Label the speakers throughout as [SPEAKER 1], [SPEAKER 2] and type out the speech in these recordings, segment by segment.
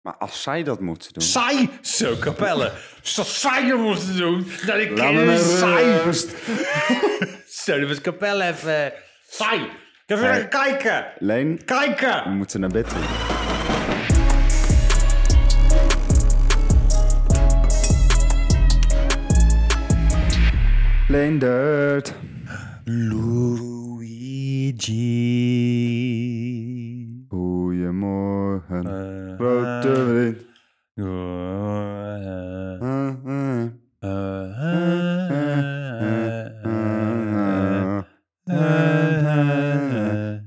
[SPEAKER 1] Maar als zij dat moeten doen...
[SPEAKER 2] Saai! Zo, Capelle. Zo saai om ons te doen. Dat ik
[SPEAKER 1] Laat me eh, met
[SPEAKER 2] saai.
[SPEAKER 1] rust.
[SPEAKER 2] Zo, dat was Capelle even. eh, Saai! Ik wil even kijken!
[SPEAKER 1] Leen, we
[SPEAKER 2] Kijken!
[SPEAKER 1] moeten naar bed toe. Leendert.
[SPEAKER 2] Luigi. Eh,
[SPEAKER 1] Goedemorgen, grote vriend. Eh, eh, eh,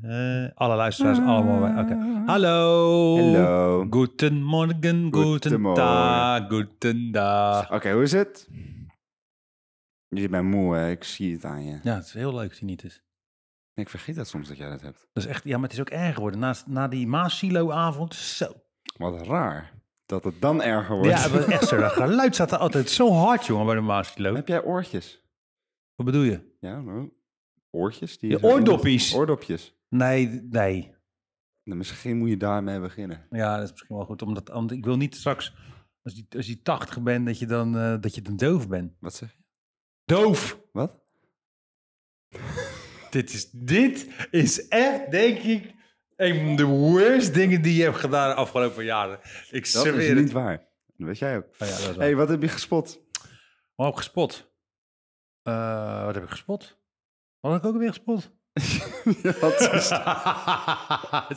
[SPEAKER 2] eh, Alle luisteraars allemaal. weg. Oké. Hallo.
[SPEAKER 1] Hallo.
[SPEAKER 2] Goedemorgen, guten
[SPEAKER 1] Goedemorgen.
[SPEAKER 2] dag, guten dag.
[SPEAKER 1] Oké, hoe is het? Je bent moe, hè? Ik zie het aan je.
[SPEAKER 2] Ja, het is heel leuk dat hij niet is.
[SPEAKER 1] Ik vergeet dat soms dat jij dat hebt.
[SPEAKER 2] Dat is echt, ja, maar het is ook erg geworden. Na, na die Maasilo-avond, zo.
[SPEAKER 1] Wat raar dat het dan erger wordt.
[SPEAKER 2] Ja, het was echt zo. Dat geluid zat er altijd zo hard, jongen, bij de Maasilo.
[SPEAKER 1] Heb jij oortjes?
[SPEAKER 2] Wat bedoel je?
[SPEAKER 1] Ja, nou, oortjes? Die
[SPEAKER 2] Je
[SPEAKER 1] je zo-
[SPEAKER 2] oordoppies.
[SPEAKER 1] Oordopjes.
[SPEAKER 2] Nee, nee.
[SPEAKER 1] Nou, misschien moet je daarmee beginnen.
[SPEAKER 2] Ja, dat is misschien wel goed. Omdat, want ik wil niet straks, als je, als je 80 bent, dat je, dan, eh, dat je dan doof bent.
[SPEAKER 1] Wat zeg je?
[SPEAKER 2] Doof!
[SPEAKER 1] Wat?
[SPEAKER 2] Dit is, dit is echt, denk ik, een van de worst dingen die je hebt gedaan de afgelopen jaren. Ik
[SPEAKER 1] Dat
[SPEAKER 2] serveer
[SPEAKER 1] is niet
[SPEAKER 2] het.
[SPEAKER 1] waar. Dat weet jij ook.
[SPEAKER 2] Oh ja, dat is waar.
[SPEAKER 1] hey, wat heb je gespot?
[SPEAKER 2] Wat heb ik gespot? Eh, wat heb ik gespot? Wat heb ik ook weer gespot?
[SPEAKER 1] Wat is-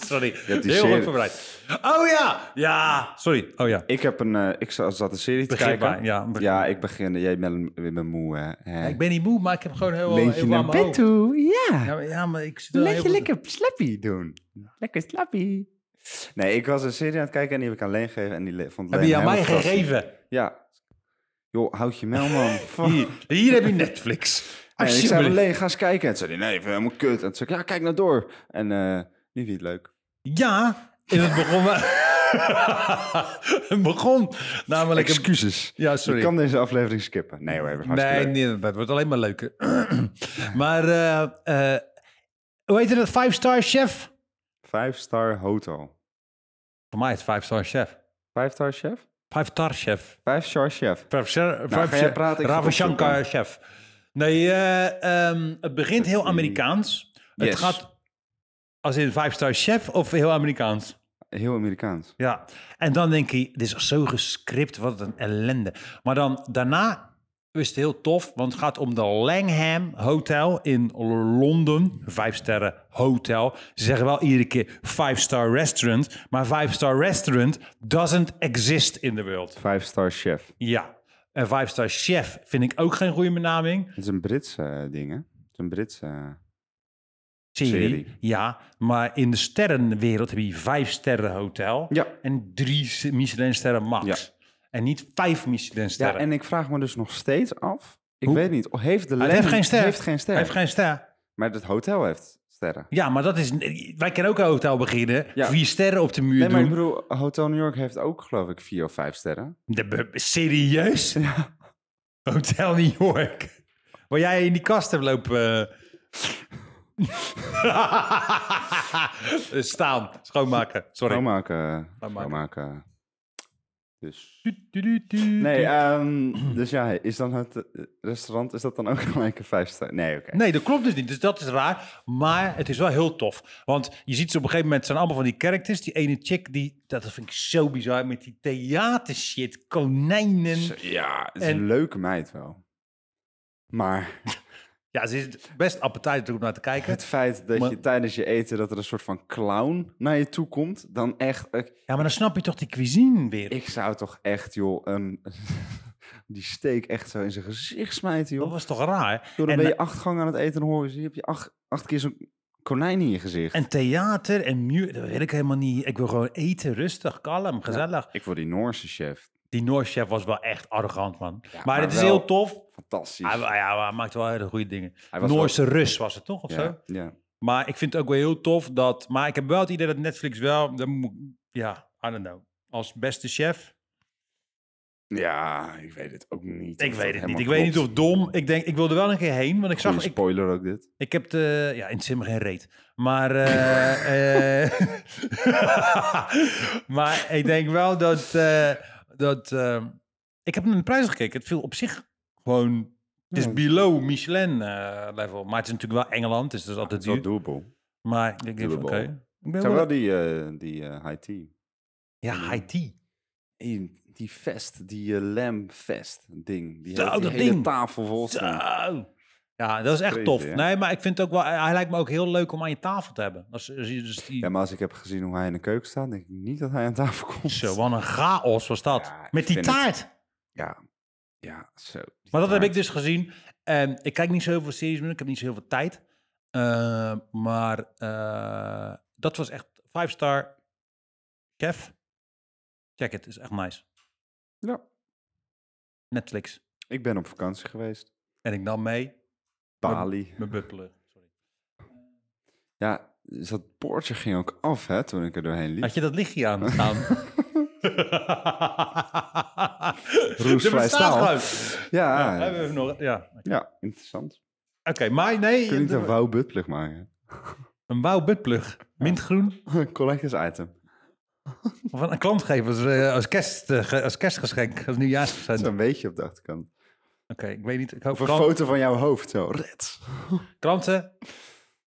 [SPEAKER 2] sorry,
[SPEAKER 1] hebt die
[SPEAKER 2] heel
[SPEAKER 1] serie-
[SPEAKER 2] goed voorbereid. Oh ja, ja, sorry. Oh ja,
[SPEAKER 1] ik heb een... eh, ik zat zat een serie te
[SPEAKER 2] Begin
[SPEAKER 1] kijken.
[SPEAKER 2] maar, ja, begin.
[SPEAKER 1] ja, ik begin. Jij bent, je bent moe, hè? hè?
[SPEAKER 2] ik ben niet moe, maar ik heb gewoon heel
[SPEAKER 1] Leentje
[SPEAKER 2] heel
[SPEAKER 1] naar
[SPEAKER 2] warm
[SPEAKER 1] bed toe. Ja.
[SPEAKER 2] Ja, maar, ja, maar ik zit wel
[SPEAKER 1] Laat
[SPEAKER 2] heel
[SPEAKER 1] je
[SPEAKER 2] goed-
[SPEAKER 1] lekker slappy doen. Lekker slappy. Nee, ik was een serie aan het kijken en die heb ik aan Leen gegeven. En die le- vond
[SPEAKER 2] Heb
[SPEAKER 1] Leen
[SPEAKER 2] je aan mij
[SPEAKER 1] helemaal fantastisch.
[SPEAKER 2] gegeven?
[SPEAKER 1] Ja. Joh, houd je mel, man. Fuck.
[SPEAKER 2] Hier, hier heb je Netflix.
[SPEAKER 1] En ik zei,
[SPEAKER 2] Alsjeblieft.
[SPEAKER 1] Leen, ga eens kijken. En toen zei hij, nee, vind je helemaal kut. En toen zei ik, ja, kijk nou door. En eh die vindt het leuk.
[SPEAKER 2] Ja, en het begon... wel- het begon namelijk... een-
[SPEAKER 1] Excuses.
[SPEAKER 2] Ja,
[SPEAKER 1] Ik
[SPEAKER 2] sorry.
[SPEAKER 1] kan deze aflevering skippen. Nee hoor, het was hartstikke
[SPEAKER 2] Nee,
[SPEAKER 1] leuk.
[SPEAKER 2] nee, dat wordt alleen maar leuker. maar, eh, eh, hoe heet dat? Five Star Chef?
[SPEAKER 1] Vijf star hotel.
[SPEAKER 2] Voor mij is het Five Star Chef.
[SPEAKER 1] Vijf star chef?
[SPEAKER 2] Five Star Chef.
[SPEAKER 1] Vijf star chef.
[SPEAKER 2] Five Star
[SPEAKER 1] Nou, ga jij
[SPEAKER 2] Chef.
[SPEAKER 1] praten, ik ga het
[SPEAKER 2] Ravashankar
[SPEAKER 1] opzoeken.
[SPEAKER 2] Chef. Nee, eh, ehm, het begint heel Amerikaans. Het
[SPEAKER 1] Yes.
[SPEAKER 2] gaat als in Five Star Chef of heel Amerikaans?
[SPEAKER 1] Heel Amerikaans.
[SPEAKER 2] Ja, en dan denk je, dit is zo gescript, wat een ellende. Maar dan daarna is het heel tof, want het gaat om de Langham Hotel in Londen. Vijf sterren hotel. Ze zeggen wel iedere keer five star restaurant, maar five star restaurant doesn't exist in the world.
[SPEAKER 1] Vijf star chef.
[SPEAKER 2] Ja, en five star chef vind ik ook geen goede benaming.
[SPEAKER 1] Het is een Britse eh, ding, hè? Het is een Britse... eh,
[SPEAKER 2] Serie.
[SPEAKER 1] Serie.
[SPEAKER 2] Ja, maar in de sterrenwereld heb je vijf sterren hotel
[SPEAKER 1] Ja.
[SPEAKER 2] en drie Michelin sterren max.
[SPEAKER 1] Ja.
[SPEAKER 2] En niet vijf Michelin
[SPEAKER 1] Ja,
[SPEAKER 2] sterren.
[SPEAKER 1] en ik vraag me dus nog steeds af... Ik
[SPEAKER 2] Hoe?
[SPEAKER 1] weet niet, heeft de
[SPEAKER 2] Hij
[SPEAKER 1] Leen-
[SPEAKER 2] heeft geen ster.
[SPEAKER 1] Heeft geen ster.
[SPEAKER 2] Hij heeft geen ster.
[SPEAKER 1] Maar het hotel heeft sterren.
[SPEAKER 2] Ja, maar dat is. Wij kunnen ook een hotel beginnen.
[SPEAKER 1] Ja.
[SPEAKER 2] Vier sterren op de muur
[SPEAKER 1] Nee, maar ik
[SPEAKER 2] doen.
[SPEAKER 1] bedoel, Hotel New York heeft ook geloof ik vier of vijf sterren.
[SPEAKER 2] De- be- serieus? Hotel New York. Waar jij in die kast hebt lopen. eh. Staan. Schoonmaken. Sorry.
[SPEAKER 1] Schoonmaken.
[SPEAKER 2] Schoonmaken.
[SPEAKER 1] Schoonmaken. Dus...
[SPEAKER 2] Du- du- du- du- du.
[SPEAKER 1] Nee, ehm, dus ja, is dan het eh, restaurant, is dat dan ook gelijk een vijf ster? Nee, oké.
[SPEAKER 2] Nee, dat klopt dus niet. Dus dat is raar. Maar het is wel heel tof. Want je ziet ze op een gegeven moment, het zijn allemaal van die characters. Die ene chick, die, dat vind ik zo bizar, met die theatershit. Konijnen.
[SPEAKER 1] Zo, Ja, het is
[SPEAKER 2] en-
[SPEAKER 1] een leuke meid wel. Maar
[SPEAKER 2] Ja, ze is best appetijtelijk om naar te kijken.
[SPEAKER 1] het feit dat
[SPEAKER 2] Maar-
[SPEAKER 1] je tijdens je eten, dat er een soort van clown naar je toe komt, dan echt... Ik,
[SPEAKER 2] Ja, maar dan snap je toch die cuisine weer.
[SPEAKER 1] ik zou toch echt, joh, een, die steek echt zo in zijn gezicht smijten,
[SPEAKER 2] Dat
[SPEAKER 1] joh.
[SPEAKER 2] was toch raar?
[SPEAKER 1] Joh, dan
[SPEAKER 2] Oh, en,
[SPEAKER 1] ben je acht gangen aan het eten en hoor je, heb je acht, acht keer zo'n konijn in je gezicht.
[SPEAKER 2] en theater en muur, dat wil ik helemaal niet. Ik wil gewoon eten, rustig, kalm, gezellig.
[SPEAKER 1] Ik word die Noorse chef.
[SPEAKER 2] Die Noorse chef was wel echt arrogant, man. maar,
[SPEAKER 1] maar
[SPEAKER 2] het is
[SPEAKER 1] wel-
[SPEAKER 2] heel tof.
[SPEAKER 1] Fantastisch.
[SPEAKER 2] Hij, ja, maar hij maakt wel hele goede dingen.
[SPEAKER 1] Hij was
[SPEAKER 2] Noorse Rus was het toch, of zo?
[SPEAKER 1] ja, ja.
[SPEAKER 2] Maar ik vind het ook wel heel tof dat... Maar ik heb wel het idee dat Netflix wel... dat moet- ja, I don't know. Als beste chef...
[SPEAKER 1] Ja, ik weet het ook niet.
[SPEAKER 2] Ik weet het niet. Ik weet niet of dom. Ik denk, ik wilde wel een keer heen, want ik zag, ik,
[SPEAKER 1] spoiler ook dit.
[SPEAKER 2] ik heb de, ja, in het simmer geen reet. Maar, eh, eh, maar ik denk wel dat, eh, dat eh, ik heb naar de prijs gekeken. Het viel op zich gewoon, het is
[SPEAKER 1] Ja.
[SPEAKER 2] below Michelin eh, level. Maar het is natuurlijk wel Engeland, dus dat is
[SPEAKER 1] Het
[SPEAKER 2] altijd
[SPEAKER 1] is wel
[SPEAKER 2] duur.
[SPEAKER 1] doable.
[SPEAKER 2] Maar ik denk van, oké.
[SPEAKER 1] Doable.
[SPEAKER 2] Ik
[SPEAKER 1] Het
[SPEAKER 2] ben
[SPEAKER 1] zijn wel
[SPEAKER 2] wel,
[SPEAKER 1] die, eh, die eh, high tea.
[SPEAKER 2] ja, high tea.
[SPEAKER 1] Die, die vest, die eh, lamb vest ding. Die
[SPEAKER 2] Zo,
[SPEAKER 1] hele- die
[SPEAKER 2] dat
[SPEAKER 1] hele
[SPEAKER 2] ding.
[SPEAKER 1] tafel vol staan.
[SPEAKER 2] Zo. Ja, dat is echt
[SPEAKER 1] Crazy,
[SPEAKER 2] tof.
[SPEAKER 1] hè?
[SPEAKER 2] Nee, maar ik vind het ook wel, hij lijkt me ook heel leuk om aan je tafel te hebben. Als, als je dus die,
[SPEAKER 1] Ja, maar als ik heb gezien hoe hij in de keuken staat, denk ik niet dat hij aan tafel komt.
[SPEAKER 2] Zo, wat een chaos was dat.
[SPEAKER 1] Ja, ik
[SPEAKER 2] Met die
[SPEAKER 1] vind het-
[SPEAKER 2] taart.
[SPEAKER 1] Ja, ja, zo.
[SPEAKER 2] Maar dat heb ik dus gezien. En ik kijk niet zo heel veel series meer. Ik heb niet zo heel veel tijd. Eh, maar eh, dat was echt 5 star chef. Check it, is echt nice.
[SPEAKER 1] Ja.
[SPEAKER 2] Netflix.
[SPEAKER 1] Ik ben op vakantie geweest.
[SPEAKER 2] En ik nam mee
[SPEAKER 1] Bali.
[SPEAKER 2] mijn bubbelen. Sorry.
[SPEAKER 1] Ja, dus dat poortje ging ook af, hè, toen ik er doorheen liep.
[SPEAKER 2] Had je dat lichtje aan staan?
[SPEAKER 1] Roestvrij staal.
[SPEAKER 2] Ja,
[SPEAKER 1] Ja,
[SPEAKER 2] hebben we
[SPEAKER 1] ja,
[SPEAKER 2] even nog, ja. Oké,
[SPEAKER 1] interessant.
[SPEAKER 2] maar nee.
[SPEAKER 1] Kun je niet een
[SPEAKER 2] Een
[SPEAKER 1] wauw buttplug maken?
[SPEAKER 2] wauwbutplug. Mintgroen.
[SPEAKER 1] Collectors item.
[SPEAKER 2] Of aan een klant geven als, eh, als, kerst, eh, ge- als kerstgeschenk, als nieuwjaarsgeschenk.
[SPEAKER 1] Zo'n
[SPEAKER 2] Oké,
[SPEAKER 1] beetje op de achterkant.
[SPEAKER 2] ik weet niet. Ik hoop
[SPEAKER 1] Of een
[SPEAKER 2] klant-
[SPEAKER 1] foto van jouw hoofd, zo. Reds.
[SPEAKER 2] klanten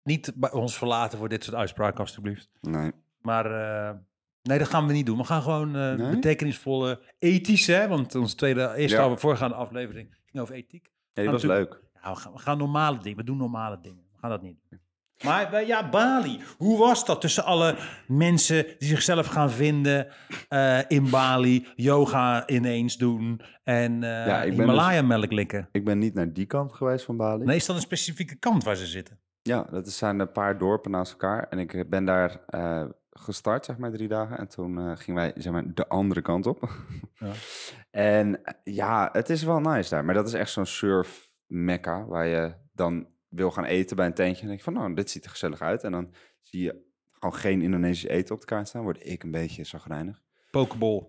[SPEAKER 2] niet bij ons verlaten voor dit soort uitspraken, alstublieft.
[SPEAKER 1] Nee.
[SPEAKER 2] Maar eh, nee, dat gaan we niet doen. We gaan gewoon eh,
[SPEAKER 1] Nee?
[SPEAKER 2] betekenisvolle, ethische, hè, want onze tweede, eerste
[SPEAKER 1] Ja.
[SPEAKER 2] af- voorgaande aflevering ging over ethiek.
[SPEAKER 1] Ja, die
[SPEAKER 2] Ah,
[SPEAKER 1] was
[SPEAKER 2] natuurlijk.
[SPEAKER 1] leuk.
[SPEAKER 2] Ja, we, gaan, we gaan normale dingen, we doen normale dingen. We gaan dat niet doen. Maar eh, ja, Bali. Hoe was dat tussen alle mensen die zichzelf gaan vinden eh, in Bali, yoga ineens doen en eh
[SPEAKER 1] Ja, ik ben dus-
[SPEAKER 2] Himalaya-melk likken?
[SPEAKER 1] Ik ben niet naar die kant geweest van Bali.
[SPEAKER 2] Nee, is dat een specifieke kant waar ze zitten?
[SPEAKER 1] Ja, dat zijn een paar dorpen naast elkaar. En ik ben daar eh, gestart, zeg maar, drie dagen. En toen eh, gingen wij, zeg maar, de andere kant op.
[SPEAKER 2] Ja.
[SPEAKER 1] En eh, ja, het is wel nice daar. Maar dat is echt zo'n surf-mekka, waar je dan wil gaan eten bij een tentje. En denk je van, nou, dit ziet er gezellig uit. En dan zie je gewoon geen Indonesisch eten op de kaart staan. Word ik een beetje zagrijnig.
[SPEAKER 2] Pokeball.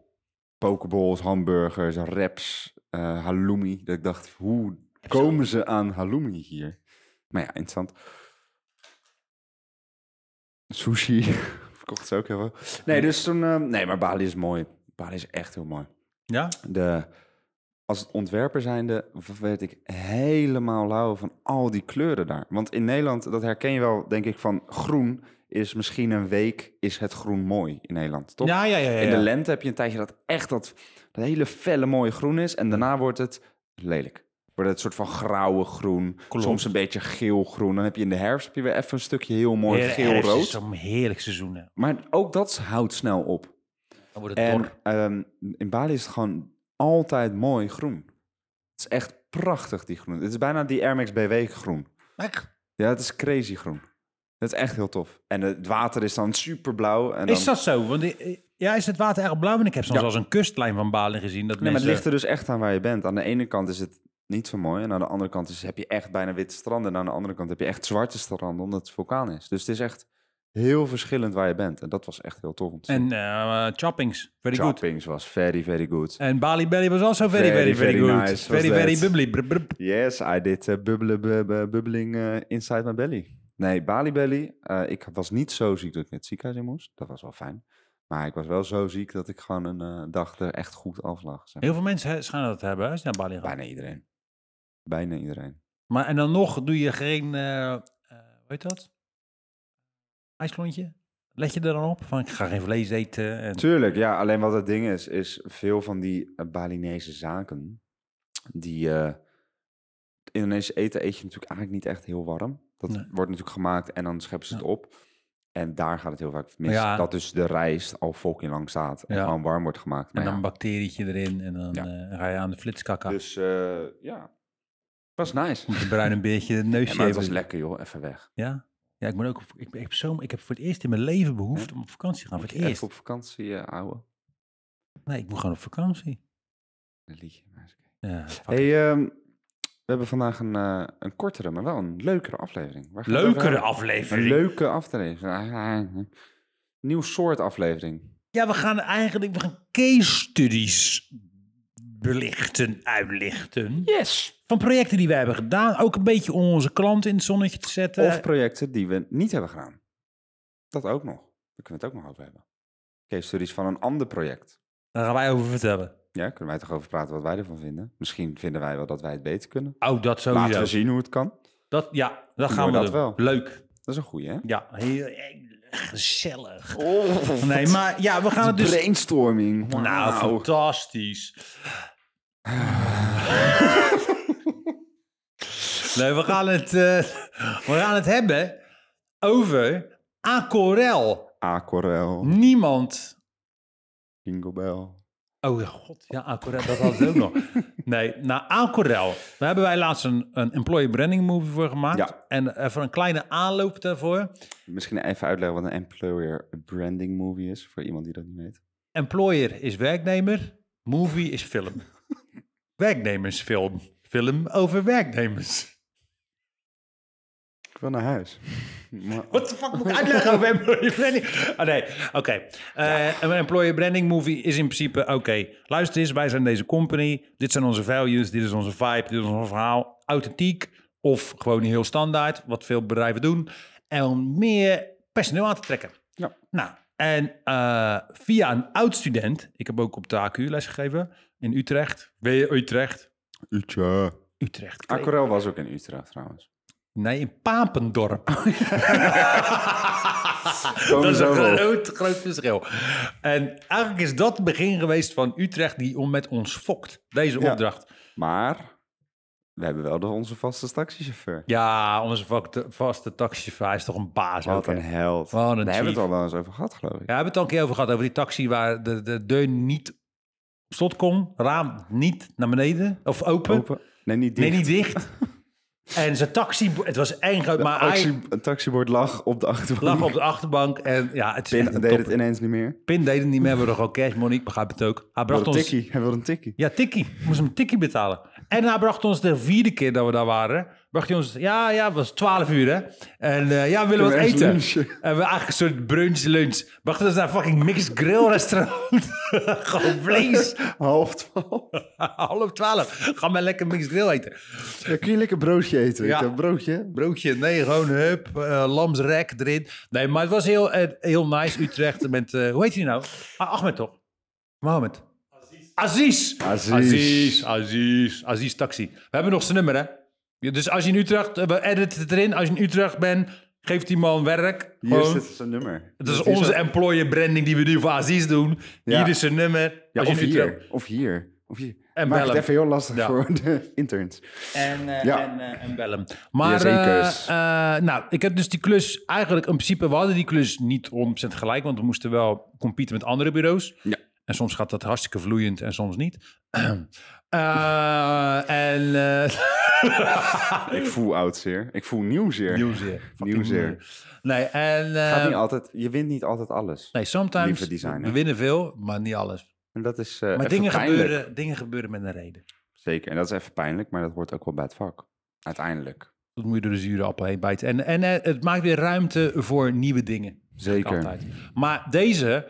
[SPEAKER 1] Pokeballs, hamburgers, wraps, eh halloumi. Dat ik dacht, hoe komen ze aan halloumi hier? Maar ja, interessant. Sushi verkocht ze ook heel veel. Nee, dus toen... eh, nee, maar Bali is mooi. Bali is echt heel mooi.
[SPEAKER 2] Ja?
[SPEAKER 1] De, als ontwerper zijnde v- werd ik helemaal lauw van al die kleuren daar. Want in Nederland, dat herken je wel, denk ik, van groen is misschien een week is het groen mooi in Nederland, toch?
[SPEAKER 2] Ja, ja, ja. ja,
[SPEAKER 1] In de
[SPEAKER 2] ja.
[SPEAKER 1] lente heb je een tijdje dat echt dat, dat hele felle mooie groen is. En daarna wordt het lelijk. Wordt het een soort van grauwe groen.
[SPEAKER 2] Klopt.
[SPEAKER 1] Soms een beetje geel-groen. Dan heb je in de herfst heb je weer even een stukje heel mooi
[SPEAKER 2] Heer- herfst is
[SPEAKER 1] geel-rood.
[SPEAKER 2] zo'n heerlijk seizoen. hè.
[SPEAKER 1] Maar ook dat houdt snel op.
[SPEAKER 2] Dan wordt het
[SPEAKER 1] En
[SPEAKER 2] dor.
[SPEAKER 1] ehm, in Bali is het gewoon altijd mooi groen. Het is echt prachtig, die groen. Het is bijna die Air Max BW groen.
[SPEAKER 2] Echt?
[SPEAKER 1] Ja, het is crazy groen. Het is echt heel tof. En het water is dan superblauw. En dan...
[SPEAKER 2] Is dat zo? Want eh, ja, is het water erg blauw? En ik heb soms
[SPEAKER 1] Ja.
[SPEAKER 2] als een kustlijn van Bali gezien. Dat
[SPEAKER 1] Nee, maar het
[SPEAKER 2] mensen...
[SPEAKER 1] ligt er dus echt aan waar je bent. Aan de ene kant is het niet zo mooi. En aan de andere kant is, heb je echt bijna witte stranden. En aan de andere kant heb je echt zwarte stranden, omdat het vulkaan is. Dus het is echt heel verschillend waar je bent. En dat was echt heel tof om te zien.
[SPEAKER 2] En eh choppings. Very good.
[SPEAKER 1] Choppings was very, very good.
[SPEAKER 2] En Bali Belly was also very, very,
[SPEAKER 1] Very,
[SPEAKER 2] very,
[SPEAKER 1] very
[SPEAKER 2] good.
[SPEAKER 1] nice was
[SPEAKER 2] very, very
[SPEAKER 1] that.
[SPEAKER 2] bubbly. Brub, brub.
[SPEAKER 1] Yes, I did uh, bubbelen, bub- eh, bubbeling eh, inside my belly. Nee, Bali belly. eh, ik was niet zo ziek dat ik naar het ziekenhuis in moest. Dat was wel fijn. Maar ik was wel zo ziek dat ik gewoon een eh, dag er echt goed af lag. zeg.
[SPEAKER 2] Heel veel mensen hè, schijnen dat te hebben hè, als je naar Bali gaat.
[SPEAKER 1] Bijna iedereen. Bijna iedereen.
[SPEAKER 2] Maar en dan nog doe je geen, eh, eh, hoe heet dat? IJsklontje? Let je er dan op? Van ik ga geen vlees eten. En...
[SPEAKER 1] Tuurlijk, ja. Alleen wat het ding is, is veel van die eh, Balinese zaken, die eh Indonesische eten eet je natuurlijk eigenlijk niet echt heel warm. Dat
[SPEAKER 2] Nee.
[SPEAKER 1] wordt natuurlijk gemaakt en dan scheppen ze het
[SPEAKER 2] Ja.
[SPEAKER 1] op. En daar gaat het heel vaak mis.
[SPEAKER 2] Ja.
[SPEAKER 1] Dat dus de rijst al fucking lang staat en
[SPEAKER 2] Ja.
[SPEAKER 1] gewoon warm wordt gemaakt.
[SPEAKER 2] En
[SPEAKER 1] Maar
[SPEAKER 2] dan een
[SPEAKER 1] ja,
[SPEAKER 2] bacterietje erin en dan
[SPEAKER 1] Ja.
[SPEAKER 2] eh, ga je aan de flits kakken.
[SPEAKER 1] dus eh, ja, was nice.
[SPEAKER 2] Moet je bruin een beetje het neusje
[SPEAKER 1] Ja, maar het was
[SPEAKER 2] even-
[SPEAKER 1] lekker joh, even weg.
[SPEAKER 2] Ja? Ja, ik, ben ook, op- ik, ben- ik, heb zo, ik heb voor het eerst in mijn leven behoefte om op vakantie te gaan. Voor
[SPEAKER 1] Moet
[SPEAKER 2] het
[SPEAKER 1] je
[SPEAKER 2] Nou, eerst.
[SPEAKER 1] even op vakantie, eh, ouwe.
[SPEAKER 2] Nee, ik moet gewoon op vakantie.
[SPEAKER 1] Een liedje, maar is oké.
[SPEAKER 2] Ja, fuck it.
[SPEAKER 1] Hey, ehm, we hebben vandaag een, eh, een kortere, maar wel een leukere aflevering. Waar gaat het over
[SPEAKER 2] Leukere
[SPEAKER 1] hebben? Een
[SPEAKER 2] aflevering.
[SPEAKER 1] leuke aflevering. Ah, Nieuw soort aflevering.
[SPEAKER 2] Ja, we gaan eigenlijk we gaan case studies belichten, uitlichten.
[SPEAKER 1] Yes.
[SPEAKER 2] Van projecten die we hebben gedaan. Ook een beetje om onze klanten in het zonnetje te zetten.
[SPEAKER 1] Of projecten die we niet hebben gedaan. Dat ook nog. Daar kunnen we het ook nog over hebben. Case studies van een ander project.
[SPEAKER 2] Daar gaan wij over vertellen.
[SPEAKER 1] Ja, kunnen wij toch over praten wat wij ervan vinden? Misschien vinden wij wel dat wij het beter kunnen.
[SPEAKER 2] Oh, dat
[SPEAKER 1] Laten we
[SPEAKER 2] sowieso.
[SPEAKER 1] zien hoe het kan.
[SPEAKER 2] Dat, ja, dat
[SPEAKER 1] Doen
[SPEAKER 2] gaan we
[SPEAKER 1] we dat
[SPEAKER 2] doen.
[SPEAKER 1] wel?
[SPEAKER 2] Leuk.
[SPEAKER 1] Dat is een goeie, hè?
[SPEAKER 2] Ja, heel, heel gezellig.
[SPEAKER 1] Oh,
[SPEAKER 2] Nee, maar ja, we gaan het dus...
[SPEAKER 1] brainstorming.
[SPEAKER 2] Nou,
[SPEAKER 1] Wauw.
[SPEAKER 2] fantastisch. nee, we gaan, het, eh, we gaan het hebben over Acorel.
[SPEAKER 1] Aquarel,
[SPEAKER 2] Niemand.
[SPEAKER 1] Jingle Bell.
[SPEAKER 2] Oh ja, god, ja, Acorel, dat had ik ook nog. Nee, nou, Acorel. Daar hebben wij laatst een, een employee branding movie voor gemaakt.
[SPEAKER 1] Ja.
[SPEAKER 2] En eh, voor een kleine aanloop daarvoor.
[SPEAKER 1] Misschien even uitleggen wat een employer branding movie is, voor iemand die dat niet weet.
[SPEAKER 2] Employer is werknemer, movie is film. Werknemersfilm. Film over werknemers.
[SPEAKER 1] Ik wil naar huis. Maar-
[SPEAKER 2] Wat de fuck moet ik uitleggen over employer branding? Oh nee, oké. Eh, Een employer branding movie is in principe... Oké, luister eens, wij zijn deze company. Dit zijn onze values, dit is onze vibe, dit is ons verhaal. Authentiek of gewoon heel standaard, wat veel bedrijven doen. En om meer personeel aan te trekken.
[SPEAKER 1] Ja.
[SPEAKER 2] Nou, en eh, via een oud-student... Ik heb ook op de AQ lesgegeven in Utrecht. Weer Utrecht.
[SPEAKER 1] Utje.
[SPEAKER 2] Utrecht.
[SPEAKER 1] Aquarel was ook in Utrecht trouwens.
[SPEAKER 2] Nee, in Papendorp.
[SPEAKER 1] Komen
[SPEAKER 2] dat is
[SPEAKER 1] zo
[SPEAKER 2] een
[SPEAKER 1] wel.
[SPEAKER 2] groot, groot verschil. En eigenlijk is dat het begin geweest van Utrecht die om met ons fokt. Deze
[SPEAKER 1] Ja.
[SPEAKER 2] opdracht.
[SPEAKER 1] Maar we hebben wel de- onze vaste taxichauffeur.
[SPEAKER 2] Ja, onze vakte- vaste taxichauffeur hij is toch een baas. ook,
[SPEAKER 1] Wat
[SPEAKER 2] hè?
[SPEAKER 1] een held.
[SPEAKER 2] Wat een
[SPEAKER 1] Daar hebben we
[SPEAKER 2] chief.
[SPEAKER 1] het al wel eens over gehad, geloof ik.
[SPEAKER 2] Ja, we hebben het al een keer over gehad, over die taxi waar de, de deur niet op slot kon. Raam niet naar beneden. Of open.
[SPEAKER 1] Open. Nee, niet dicht.
[SPEAKER 2] Nee, niet dicht. en zijn taxi... Het was één groot...
[SPEAKER 1] De
[SPEAKER 2] Maar
[SPEAKER 1] actie-
[SPEAKER 2] hij
[SPEAKER 1] Een taxiboord lag op de achterbank.
[SPEAKER 2] lag op de achterbank. En ja, het is
[SPEAKER 1] Pin
[SPEAKER 2] echt een
[SPEAKER 1] deed
[SPEAKER 2] top.
[SPEAKER 1] het ineens niet meer.
[SPEAKER 2] Pin deed het niet meer. We hadden gewoon cash money. Ik begrijp het ook. Hij bracht
[SPEAKER 1] Wilde
[SPEAKER 2] ons...
[SPEAKER 1] tikkie. Hij wilde een tikkie.
[SPEAKER 2] Ja, tikkie. We moesten hem tikkie betalen. En hij bracht ons de vierde keer dat we daar waren. Bracht hij ons... Ja, ja, het was twaalf uur, hè. En eh, ja, we willen wat
[SPEAKER 1] Kunnen we
[SPEAKER 2] eten.
[SPEAKER 1] ergens lunchen?
[SPEAKER 2] En we eigenlijk een soort brunch, lunch. Bracht ons naar een fucking mixed grill restaurant. gewoon vlees.
[SPEAKER 1] Half twaalf.
[SPEAKER 2] Half twaalf. Ga maar lekker mixed grill eten.
[SPEAKER 1] Ja, kun je lekker broodje eten?
[SPEAKER 2] Ja.
[SPEAKER 1] Ik heb broodje.
[SPEAKER 2] Broodje, nee, gewoon hup, eh, lamsrek erin. Nee, maar het was heel, eh, heel nice, Utrecht. Met, eh, hoe heet hij nou? Ah, Ahmed toch? Mohammed. Aziz.
[SPEAKER 1] Aziz.
[SPEAKER 2] Aziz, Aziz, Aziz Taxi. We hebben nog zijn nummer, hè? Ja, Dus als je in Utrecht, eh, we editen het erin. Als je in Utrecht bent, geef die man werk.
[SPEAKER 1] Hier
[SPEAKER 2] Gewoon.
[SPEAKER 1] zit zijn nummer.
[SPEAKER 2] Het is
[SPEAKER 1] Dit is
[SPEAKER 2] onze
[SPEAKER 1] ook-
[SPEAKER 2] employer branding die we nu voor Aziz doen.
[SPEAKER 1] Ja.
[SPEAKER 2] Hier is zijn nummer.
[SPEAKER 1] Ja,
[SPEAKER 2] als je
[SPEAKER 1] of
[SPEAKER 2] in Utrecht-
[SPEAKER 1] hier. Of hier. Of hier.
[SPEAKER 2] En
[SPEAKER 1] Maak
[SPEAKER 2] bellen.
[SPEAKER 1] het even heel lastig
[SPEAKER 2] Ja.
[SPEAKER 1] voor de interns.
[SPEAKER 2] En, eh,
[SPEAKER 1] Ja.
[SPEAKER 2] en, eh, en bellen. Maar
[SPEAKER 1] Jazeker.
[SPEAKER 2] eh, eh, nou, ik heb dus die klus eigenlijk in principe... We hadden die klus niet 100% gelijk, want we moesten wel competen met andere bureaus.
[SPEAKER 1] Ja.
[SPEAKER 2] En soms gaat dat hartstikke vloeiend en soms niet. Eh, en... eh,
[SPEAKER 1] Ik voel oud zeer. Ik voel nieuw zeer.
[SPEAKER 2] Nieuwzeer. Fucking
[SPEAKER 1] Nieuwzeer.
[SPEAKER 2] Nieuwzeer. Nee, en... eh,
[SPEAKER 1] Gaat niet altijd, je wint niet altijd alles.
[SPEAKER 2] nee, sometimes
[SPEAKER 1] Lieve designer.
[SPEAKER 2] we winnen veel, maar niet alles.
[SPEAKER 1] En dat is eh,
[SPEAKER 2] Maar
[SPEAKER 1] even
[SPEAKER 2] dingen
[SPEAKER 1] pijnlijk.
[SPEAKER 2] gebeuren, dingen gebeuren met een reden.
[SPEAKER 1] Zeker. En dat is even pijnlijk, maar dat hoort ook wel bij het vak. Uiteindelijk.
[SPEAKER 2] Dat moet je door de zure appel heen bijten. En, en eh, het maakt weer ruimte voor nieuwe dingen. Zeg ik
[SPEAKER 1] Zeker.
[SPEAKER 2] altijd. Maar deze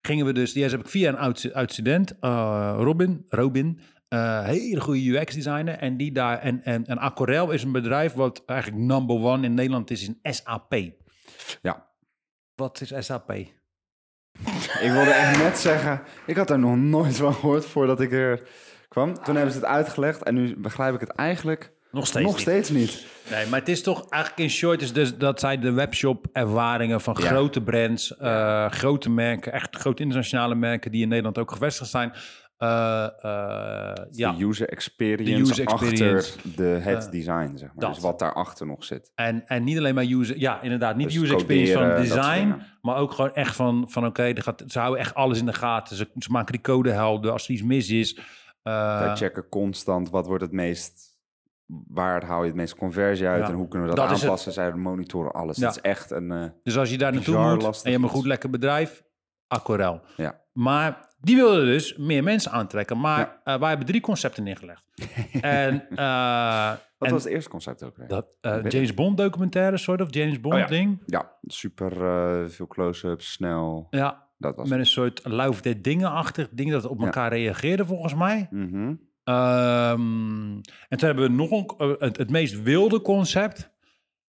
[SPEAKER 2] gingen we dus... Die heb ik via een oud, oud student, eh, Robin. Robin. eh, hele goede UX-designer. En, die daar, en, en, en Aquarel is een bedrijf wat eigenlijk number one in Nederland is in SAP.
[SPEAKER 1] Ja.
[SPEAKER 2] Wat is SAP?
[SPEAKER 1] Ik wilde echt net zeggen, ik had daar nog nooit van gehoord voordat ik er kwam. Toen hebben ze het uitgelegd en nu begrijp ik het eigenlijk
[SPEAKER 2] Nog steeds
[SPEAKER 1] nog
[SPEAKER 2] niet.
[SPEAKER 1] steeds niet.
[SPEAKER 2] Nee, maar het is toch eigenlijk in short is dus dat zij de webshop ervaringen van
[SPEAKER 1] Ja.
[SPEAKER 2] grote brands, eh, grote merken, echt grote internationale merken die in Nederland ook gevestigd zijn. eh, eh, ja,
[SPEAKER 1] De user experience
[SPEAKER 2] De user experience. Eh,
[SPEAKER 1] achter de, het design, zeg maar.
[SPEAKER 2] dat.
[SPEAKER 1] Dus wat daarachter nog zit.
[SPEAKER 2] en, en niet alleen maar user, ja, inderdaad, niet
[SPEAKER 1] Dus
[SPEAKER 2] user experience van
[SPEAKER 1] coderen, dat soort
[SPEAKER 2] design,
[SPEAKER 1] dingen.
[SPEAKER 2] maar ook gewoon echt van, van oké, er gaat- ze houden echt alles in de gaten. Ze, ze maken die code helder als er iets mis is. Eh,
[SPEAKER 1] Wij checken constant wat wordt het meest... Waar hou je het meest conversie uit
[SPEAKER 2] Ja.
[SPEAKER 1] en hoe kunnen we dat,
[SPEAKER 2] Dat is het.
[SPEAKER 1] aanpassen? Zij monitoren alles.
[SPEAKER 2] Ja.
[SPEAKER 1] Het is echt een... eh,
[SPEAKER 2] Dus als je daar naartoe
[SPEAKER 1] Bizar
[SPEAKER 2] moet en
[SPEAKER 1] lastig
[SPEAKER 2] je hebt een
[SPEAKER 1] iets.
[SPEAKER 2] goed lekker bedrijf, Accorel.
[SPEAKER 1] Ja.
[SPEAKER 2] Maar die wilden dus meer mensen aantrekken. Maar
[SPEAKER 1] Ja.
[SPEAKER 2] eh, wij hebben drie concepten neergelegd. en eh,
[SPEAKER 1] wat
[SPEAKER 2] en
[SPEAKER 1] was het eerste concept ook weer?
[SPEAKER 2] dat, eh,
[SPEAKER 1] weet Oh
[SPEAKER 2] James Bond documentaire soort of, James Bond
[SPEAKER 1] ja.
[SPEAKER 2] ding.
[SPEAKER 1] Ja, super eh, veel close-ups, snel.
[SPEAKER 2] Ja,
[SPEAKER 1] dat was
[SPEAKER 2] Met een soort Love Dead dingenachtig ding dat op
[SPEAKER 1] Ja.
[SPEAKER 2] elkaar reageerde volgens mij.
[SPEAKER 1] het. Mhm.
[SPEAKER 2] Ehm, en toen hebben we nog een, eh, het, het meest wilde concept.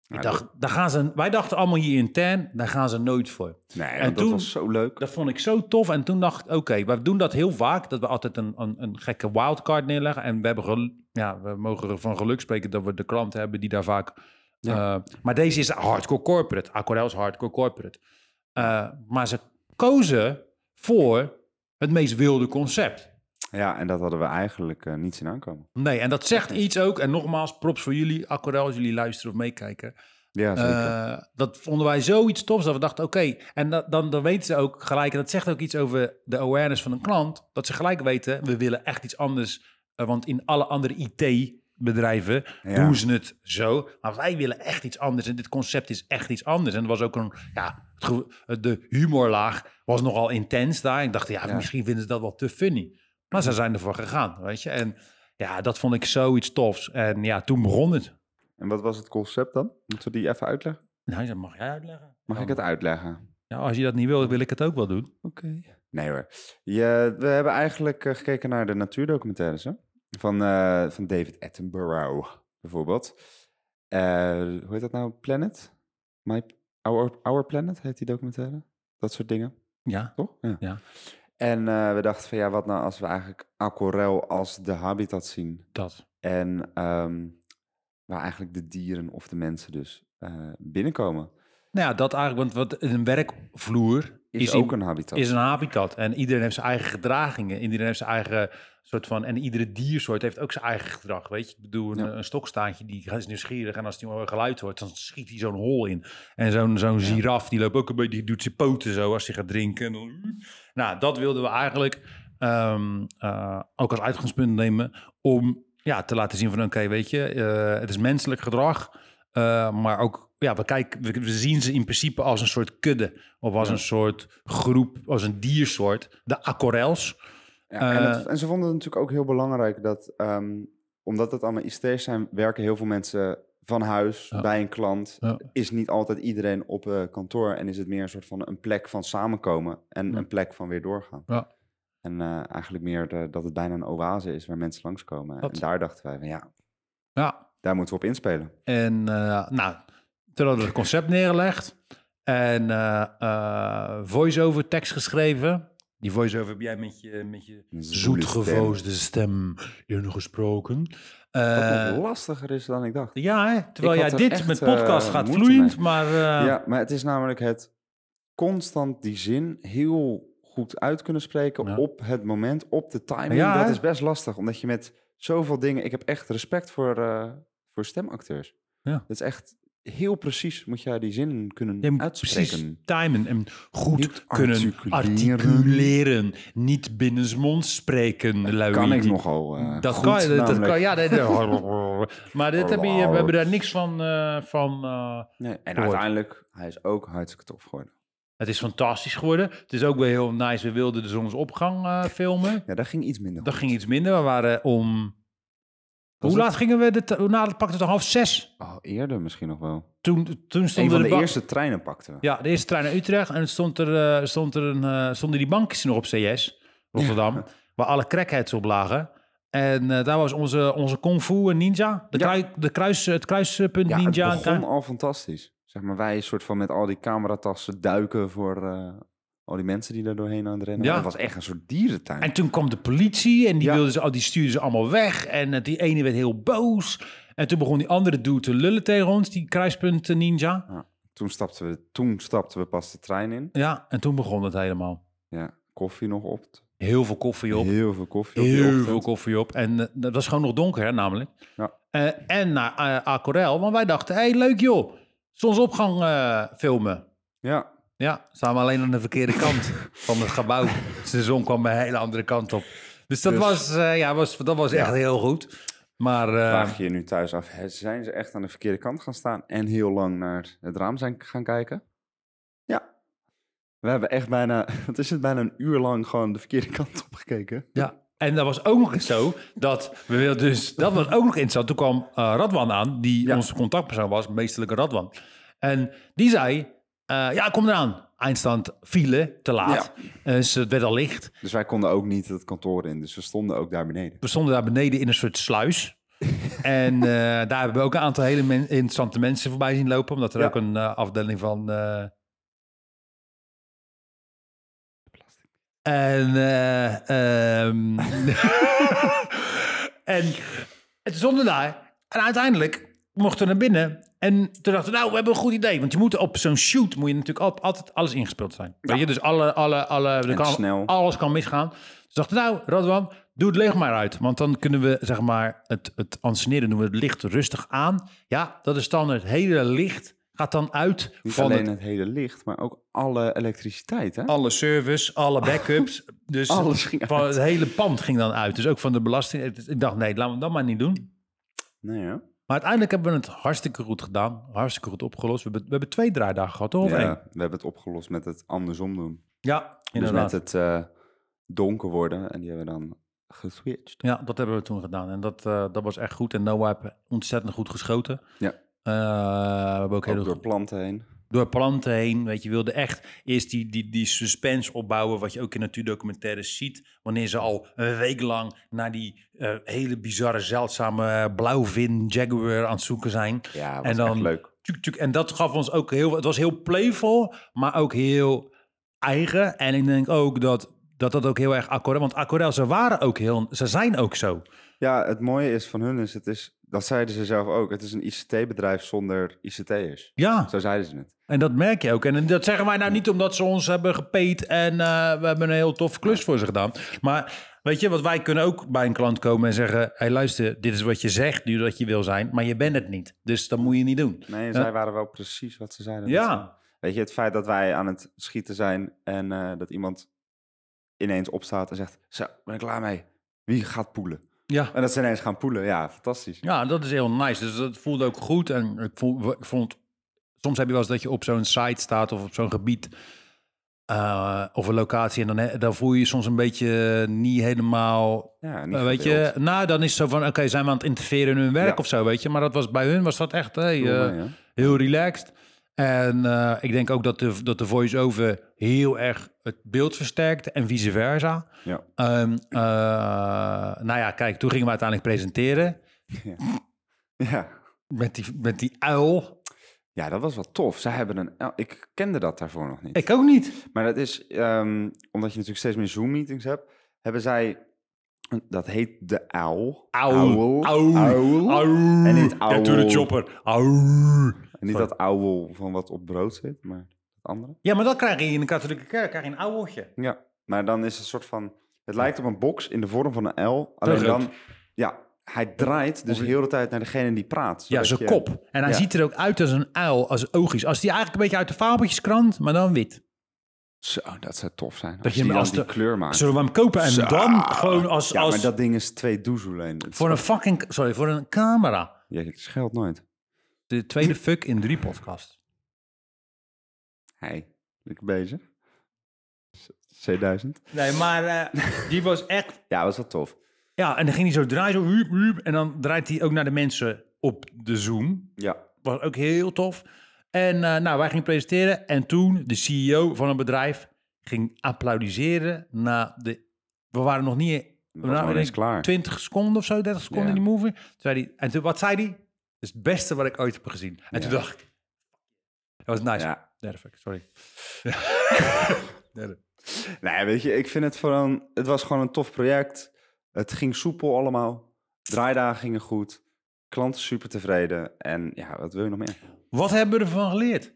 [SPEAKER 1] Ja,
[SPEAKER 2] Ik dacht, daar gaan ze, wij dachten allemaal hier intern, daar gaan ze nooit voor.
[SPEAKER 1] Nee,
[SPEAKER 2] en
[SPEAKER 1] want dat
[SPEAKER 2] toen-
[SPEAKER 1] was zo leuk.
[SPEAKER 2] Dat vond ik zo tof. En toen dacht ik, oké, we doen dat heel vaak. Dat we altijd een, een, een gekke wildcard neerleggen. En we, hebben gel- ja, we mogen er van geluk spreken dat we de klanten hebben die daar vaak...
[SPEAKER 1] Ja.
[SPEAKER 2] eh, maar deze is hardcore corporate. Aquarel is hardcore corporate. Eh, maar ze kozen voor het meest wilde concept.
[SPEAKER 1] Ja, en dat hadden we eigenlijk eh, niet zien aankomen.
[SPEAKER 2] Nee, en dat zegt iets ook. En nogmaals, props voor jullie, Aquarel, als jullie luisteren of meekijken.
[SPEAKER 1] Ja, zeker.
[SPEAKER 2] Eh, dat vonden wij zoiets tofs dat we dachten, oké. En dat, dan, dan weten ze ook gelijk, en dat zegt ook iets over de awareness van een klant, dat ze gelijk weten, we willen echt iets anders. Eh, want in alle andere IT-bedrijven
[SPEAKER 1] Ja.
[SPEAKER 2] doen ze het zo. Maar wij willen echt iets anders. En dit concept is echt iets anders. En er was ook een, ja, het ge- eh, de humorlaag was nogal intens daar. Ik dacht, ja,
[SPEAKER 1] Ja. Mhm.
[SPEAKER 2] misschien vinden ze dat wel te funny. Maar ze zijn ervoor gegaan, weet je. En ja, dat vond ik zoiets tofs. En ja, toen begon het.
[SPEAKER 1] En wat was het concept dan? Moeten we die even uitleggen?
[SPEAKER 2] Nou, dat mag jij uitleggen.
[SPEAKER 1] Mag ik
[SPEAKER 2] Dan-
[SPEAKER 1] het uitleggen?
[SPEAKER 2] Nou, als je dat niet wil, wil ik het ook wel doen.
[SPEAKER 1] Oké. Nee hoor. Je, we hebben eigenlijk eh, gekeken naar de natuurdocumentaires hè? Van, eh, van David Attenborough bijvoorbeeld. Eh, hoe heet dat nou? Planet? My, Our, Our Planet heet die documentaire? Dat soort dingen,
[SPEAKER 2] Ja.
[SPEAKER 1] toch?
[SPEAKER 2] Ja.
[SPEAKER 1] En eh, we dachten van ja, wat nou als we eigenlijk aquarel als de habitat zien
[SPEAKER 2] Dat.
[SPEAKER 1] en ehm, waar eigenlijk de dieren of de mensen dus eh, binnenkomen.
[SPEAKER 2] Nou ja, dat eigenlijk, want wat een werkvloer
[SPEAKER 1] Is,
[SPEAKER 2] Is
[SPEAKER 1] ook
[SPEAKER 2] in-
[SPEAKER 1] een habitat.
[SPEAKER 2] is een habitat. En iedereen heeft zijn eigen gedragingen. Iedereen heeft zijn eigen soort van... En iedere diersoort heeft ook zijn eigen gedrag, weet je. Ik bedoel, een,
[SPEAKER 1] Ja.
[SPEAKER 2] een stokstaartje, die is nieuwsgierig. En als die een geluid hoort, dan schiet hij zo'n hol in. En zo'n zo'n giraf, die loopt ook een beetje... Die doet zijn poten zo als hij gaat drinken. En dan- Nou, dat wilden we eigenlijk ehm, eh, ook als uitgangspunt nemen... om ja, te laten zien van oké, weet je, eh, het is menselijk gedrag. eh, maar ook, ja, we, kijken, we, we zien ze in principe als een soort kudde. Of als
[SPEAKER 1] Ja.
[SPEAKER 2] een soort groep, als een diersoort. De aquarels.
[SPEAKER 1] Ja, en, het-
[SPEAKER 2] Eh,
[SPEAKER 1] en ze vonden het natuurlijk ook heel belangrijk dat, ehm, omdat het allemaal ICT's zijn, werken heel veel mensen van huis
[SPEAKER 2] Ja.
[SPEAKER 1] bij een klant.
[SPEAKER 2] Ja.
[SPEAKER 1] Is niet altijd iedereen op eh, kantoor en is het meer een soort van een plek van samenkomen en
[SPEAKER 2] Ja.
[SPEAKER 1] een plek van weer doorgaan.
[SPEAKER 2] Ja.
[SPEAKER 1] En eh, eigenlijk meer de- dat het bijna een oase is waar mensen langskomen.
[SPEAKER 2] Dat-
[SPEAKER 1] En daar dachten wij van ja,
[SPEAKER 2] Ja,
[SPEAKER 1] daar moeten we op inspelen.
[SPEAKER 2] En eh, nou, toen hadden we het concept neergelegd. En eh eh voice-over tekst geschreven. Die voice-over heb jij met je, met je
[SPEAKER 1] Een zoele
[SPEAKER 2] zoetgevoosde stem ingesproken.
[SPEAKER 1] Wat
[SPEAKER 2] Eh,
[SPEAKER 1] nog lastiger is dan ik dacht.
[SPEAKER 2] ja, hè, terwijl
[SPEAKER 1] Ik
[SPEAKER 2] jij
[SPEAKER 1] had er
[SPEAKER 2] dit
[SPEAKER 1] echt,
[SPEAKER 2] met podcast
[SPEAKER 1] eh,
[SPEAKER 2] gaat
[SPEAKER 1] moeite
[SPEAKER 2] vloeiend,
[SPEAKER 1] mee.
[SPEAKER 2] maar... eh,
[SPEAKER 1] ja, maar het is namelijk het constant die zin heel goed uit kunnen spreken
[SPEAKER 2] Ja.
[SPEAKER 1] op het moment, op de timing.
[SPEAKER 2] Ja,
[SPEAKER 1] dat
[SPEAKER 2] hè?
[SPEAKER 1] is best lastig, omdat je met zoveel dingen... Ik heb echt respect voor, eh, voor stemacteurs.
[SPEAKER 2] Ja.
[SPEAKER 1] Het is echt heel precies moet jij die zin kunnen
[SPEAKER 2] Je moet precies
[SPEAKER 1] uitspreken.
[SPEAKER 2] timen en goed
[SPEAKER 1] Niet
[SPEAKER 2] kunnen articuleren.
[SPEAKER 1] articuleren.
[SPEAKER 2] Niet binnensmonds spreken, lui.
[SPEAKER 1] Kan ik
[SPEAKER 2] die-
[SPEAKER 1] nogal eh,
[SPEAKER 2] Dat
[SPEAKER 1] goed,
[SPEAKER 2] kan, dat- dat,
[SPEAKER 1] namelijk.
[SPEAKER 2] kan, ja. nee, nee. maar dit heb je, we hebben daar niks van. eh, van eh,
[SPEAKER 1] Nee, En
[SPEAKER 2] Hoort.
[SPEAKER 1] uiteindelijk, hij is ook hartstikke tof geworden.
[SPEAKER 2] het is fantastisch geworden. Het is ook weer heel nice. We wilden de zonsopgang eh, filmen.
[SPEAKER 1] Ja, daar ging iets minder
[SPEAKER 2] Dat
[SPEAKER 1] goed.
[SPEAKER 2] ging iets minder. We waren om.
[SPEAKER 1] Was
[SPEAKER 2] hoe
[SPEAKER 1] het-
[SPEAKER 2] laat gingen we? Dit, hoe laat pakte het half zes?
[SPEAKER 1] Oh, eerder misschien nog wel.
[SPEAKER 2] Toen, toen
[SPEAKER 1] Een
[SPEAKER 2] stonden
[SPEAKER 1] van de,
[SPEAKER 2] ba-
[SPEAKER 1] eerste treinen pakten we.
[SPEAKER 2] Ja, de eerste trein naar Utrecht. En het stond er, eh, stond er een, eh, stonden die bankjes nog op CS, Rotterdam. Waar alle crackheads op lagen. En eh, daar was onze, onze Kung Fu en Ninja. De
[SPEAKER 1] Ja.
[SPEAKER 2] krui- de kruis, het kruispunt
[SPEAKER 1] Ja,
[SPEAKER 2] Ninja.
[SPEAKER 1] het
[SPEAKER 2] en
[SPEAKER 1] begon al fantastisch. Zeg maar, wij soort van met al die cameratassen duiken voor eh, al die mensen die daar doorheen aan het rennen.
[SPEAKER 2] Ja.
[SPEAKER 1] Ja. Het was echt een soort dierentuin.
[SPEAKER 2] En toen kwam de politie en die,
[SPEAKER 1] Ja.
[SPEAKER 2] wilden ze, al- die stuurden ze allemaal weg. En eh, die ene werd heel boos. En toen begon die andere dude te lullen tegen ons, die kruispunt eh, ninja.
[SPEAKER 1] Toen, stapten we, toen stapten we pas de trein in.
[SPEAKER 2] Ja, en toen begon het helemaal.
[SPEAKER 1] Ja, koffie nog op.
[SPEAKER 2] Heel veel koffie op.
[SPEAKER 1] Heel veel koffie op die
[SPEAKER 2] Heel
[SPEAKER 1] ochtend.
[SPEAKER 2] veel koffie op. En eh, dat was gewoon nog donker, hè, namelijk.
[SPEAKER 1] Ja.
[SPEAKER 2] Eh, en naar eh, Aquarel, want wij dachten, hé, hey, leuk joh. Zonsopgang eh, filmen.
[SPEAKER 1] Ja,
[SPEAKER 2] Ja, staan we alleen aan de verkeerde kant van het gebouw. Dus de zon kwam een hele andere kant op. Dus dat
[SPEAKER 1] Dus-
[SPEAKER 2] was, eh, ja, was, dat was echt heel goed. Maar eh,
[SPEAKER 1] vraag je je nu thuis af. hè, Zijn ze echt aan de verkeerde kant gaan staan en heel lang naar het raam zijn gaan kijken? Ja. We hebben echt bijna, wat is het, bijna een uur lang gewoon de verkeerde kant op gekeken.
[SPEAKER 2] ja. En dat was ook nog eens zo dat we wilden dus dat was ook nog interessant. Toen kwam eh, Radwan aan, die
[SPEAKER 1] Ja.
[SPEAKER 2] onze contactpersoon was, meesterlijke Radwan. En die zei: eh, Ja, kom eraan. eindstand file te laat. Eh, Dus het werd al licht.
[SPEAKER 1] Dus wij konden ook niet het kantoor in. Dus we stonden ook daar beneden.
[SPEAKER 2] We stonden daar beneden in een soort sluis. en eh, daar hebben we ook een aantal hele men- interessante mensen voorbij zien lopen. Omdat er
[SPEAKER 1] Ja.
[SPEAKER 2] ook een eh, afdeling van... eh, En, eh, ehm, en het zonde daar. En uiteindelijk mochten we naar binnen. En toen dachten we, nou, we hebben een goed idee. Want je moet op zo'n shoot moet je natuurlijk al- altijd alles ingespeeld zijn. Weet je, dus alle, alle, alle, er kan,
[SPEAKER 1] snel.
[SPEAKER 2] alles kan misgaan. Dus dachten we, nou, Radwan, doe het licht maar uit. Want dan kunnen we, zeg maar, het, het anseneren noemen, we het licht rustig aan. Ja, dat is dan het hele licht gaat dan uit
[SPEAKER 1] Niet
[SPEAKER 2] van
[SPEAKER 1] alleen
[SPEAKER 2] het,
[SPEAKER 1] het... hele licht, maar ook alle elektriciteit. Hè?
[SPEAKER 2] alle service, alle backups. Dus
[SPEAKER 1] Alles ging
[SPEAKER 2] van het hele pand ging dan uit. Dus ook van de belasting. Het is- Ik dacht, nee, laten we dat maar niet doen.
[SPEAKER 1] Nee, hè?
[SPEAKER 2] Maar uiteindelijk hebben we het hartstikke goed gedaan. Hartstikke goed opgelost. We hebben, we hebben twee draaidagen gehad, toch? Of
[SPEAKER 1] Ja,
[SPEAKER 2] één?
[SPEAKER 1] we hebben het opgelost met het andersom doen.
[SPEAKER 2] ja inderdaad.
[SPEAKER 1] Dus met het eh, donker worden. En die hebben we dan geswitcht.
[SPEAKER 2] Ja, dat hebben we toen gedaan. En dat, eh, dat was echt goed. En Noah heeft ontzettend goed geschoten.
[SPEAKER 1] Ja.
[SPEAKER 2] Eh, we hebben ook, heel
[SPEAKER 1] Ook door
[SPEAKER 2] door,
[SPEAKER 1] planten heen.
[SPEAKER 2] door planten heen. Weet je, wilde echt eerst die, die, die suspense opbouwen. Wat je ook in natuurdocumentaires ziet. Wanneer ze al een week lang naar die eh, hele bizarre, zeldzame eh, blauwvin jaguar aan het zoeken zijn.
[SPEAKER 1] Ja, was
[SPEAKER 2] En
[SPEAKER 1] echt
[SPEAKER 2] dan-
[SPEAKER 1] leuk.
[SPEAKER 2] Tjuk, tjuk. En dat gaf ons ook heel... Het was heel playful, maar ook heel eigen. En ik denk ook dat dat, dat ook heel erg Aquarel... Want Aquarel, ze waren ook heel... Ze zijn ook zo.
[SPEAKER 1] Ja, het mooie is van hun is, het is dat zeiden ze zelf ook, het is een ICT-bedrijf zonder ICT'ers.
[SPEAKER 2] Ja,
[SPEAKER 1] Zo zeiden ze het.
[SPEAKER 2] en dat merk je ook. En dat zeggen wij nou niet omdat ze ons hebben gepeet... en eh, we hebben een heel toffe klus voor ze gedaan. Maar weet je, wat wij kunnen ook bij een klant komen en zeggen... hé, hey, luister, dit is wat je zegt, nu dat je wil zijn... maar je bent het niet. Dus dat moet je niet doen.
[SPEAKER 1] Nee, en
[SPEAKER 2] Ja.
[SPEAKER 1] zij waren wel precies wat ze zeiden. dat ze-
[SPEAKER 2] Ja,
[SPEAKER 1] Weet je, het feit dat wij aan het schieten zijn en eh, dat iemand ineens opstaat en zegt, zo, ben ik klaar mee. Wie gaat poelen?
[SPEAKER 2] ja.
[SPEAKER 1] En dat ze ineens gaan poelen, ja, fantastisch.
[SPEAKER 2] Ja, dat is heel nice. Dus dat voelde ook goed. En ik vond, ik vond soms heb je wel eens dat je op zo'n site staat of op zo'n gebied eh, of een locatie. En dan, he- dan voel je je soms een beetje niet helemaal.
[SPEAKER 1] Ja, niet
[SPEAKER 2] eh, weet je,
[SPEAKER 1] verdeeld.
[SPEAKER 2] nou, dan is het zo van: oké, zijn we aan het interfereren in hun werk
[SPEAKER 1] Ja.
[SPEAKER 2] of zo, weet je. Maar dat was bij hun, was dat echt hey,
[SPEAKER 1] Doe
[SPEAKER 2] eh,
[SPEAKER 1] maar, ja.
[SPEAKER 2] heel relaxed. En eh, ik denk ook dat de, dat de voice-over heel erg het beeld versterkt en vice versa.
[SPEAKER 1] Ja.
[SPEAKER 2] Ehm, eh, nou ja, kijk, toen gingen we uiteindelijk presenteren
[SPEAKER 1] Ja.
[SPEAKER 2] met die, met die uil.
[SPEAKER 1] ja, dat was wel tof. Zij hebben een... el- Ik kende dat daarvoor nog niet.
[SPEAKER 2] Ik ook niet.
[SPEAKER 1] Maar dat is, ehm, omdat je natuurlijk steeds meer Zoom-meetings hebt, hebben zij, dat heet de uil.
[SPEAKER 2] Auw. Auw. Auw.
[SPEAKER 1] En niet auw.
[SPEAKER 2] Ja, to the chopper. Auw.
[SPEAKER 1] En niet dat ouwel van wat op brood zit, maar het andere.
[SPEAKER 2] Ja, maar dat krijg je in de katholieke kerk. krijg je een ouweltje.
[SPEAKER 1] Ja, maar dan is het een soort van, het lijkt op een box in de vorm van een L. Alleen
[SPEAKER 2] Terug.
[SPEAKER 1] dan, ja, hij draait dus heel de hele tijd naar degene die praat.
[SPEAKER 2] Ja,
[SPEAKER 1] zodat
[SPEAKER 2] zijn
[SPEAKER 1] je-
[SPEAKER 2] kop. En hij
[SPEAKER 1] Ja.
[SPEAKER 2] ziet er ook uit als een uil, als oogjes. Als die eigenlijk een beetje uit de fabeltjeskrant, maar dan wit.
[SPEAKER 1] Zo, oh, dat zou tof zijn.
[SPEAKER 2] je
[SPEAKER 1] Als je
[SPEAKER 2] hem
[SPEAKER 1] dan
[SPEAKER 2] als
[SPEAKER 1] die
[SPEAKER 2] de-
[SPEAKER 1] kleur maakt.
[SPEAKER 2] Zullen we hem kopen en
[SPEAKER 1] Ah, Zo.
[SPEAKER 2] dan gewoon als...
[SPEAKER 1] Ja,
[SPEAKER 2] als
[SPEAKER 1] maar dat ding is twee doezel alleen. Het-
[SPEAKER 2] Voor een fucking... Sorry, voor een camera.
[SPEAKER 1] Je scheelt nooit.
[SPEAKER 2] De tweede fuck in drie podcast.
[SPEAKER 1] Hey, lekker bezig. C1000.
[SPEAKER 2] Nee, maar eh, die was echt...
[SPEAKER 1] Ja, was wel tof.
[SPEAKER 2] Ja, en dan ging hij zo draaien. Zo, huup, huup, en dan draait hij ook naar de mensen op de Zoom.
[SPEAKER 1] Ja.
[SPEAKER 2] was ook heel tof. En eh, nou, wij gingen presenteren. En toen de CEO van een bedrijf ging applaudisseren na de... We waren nog niet... We
[SPEAKER 1] Was nog
[SPEAKER 2] waren
[SPEAKER 1] eens
[SPEAKER 2] denk ik
[SPEAKER 1] klaar.
[SPEAKER 2] 20 seconden of zo, 30 seconden
[SPEAKER 1] Ja.
[SPEAKER 2] in die movie. Toen zei hij, en toen, wat zei hij? Dat is het beste wat ik ooit heb gezien. En toen dacht ik... Dat was nice.
[SPEAKER 1] Ja.
[SPEAKER 2] Derde fuck, sorry. Derde.
[SPEAKER 1] Nee, weet je, ik vind het vooral... Het was gewoon een tof project. Het ging soepel allemaal. Draaidagen gingen goed. Klanten super tevreden. En ja, wat wil je nog meer?
[SPEAKER 2] Wat hebben we ervan geleerd?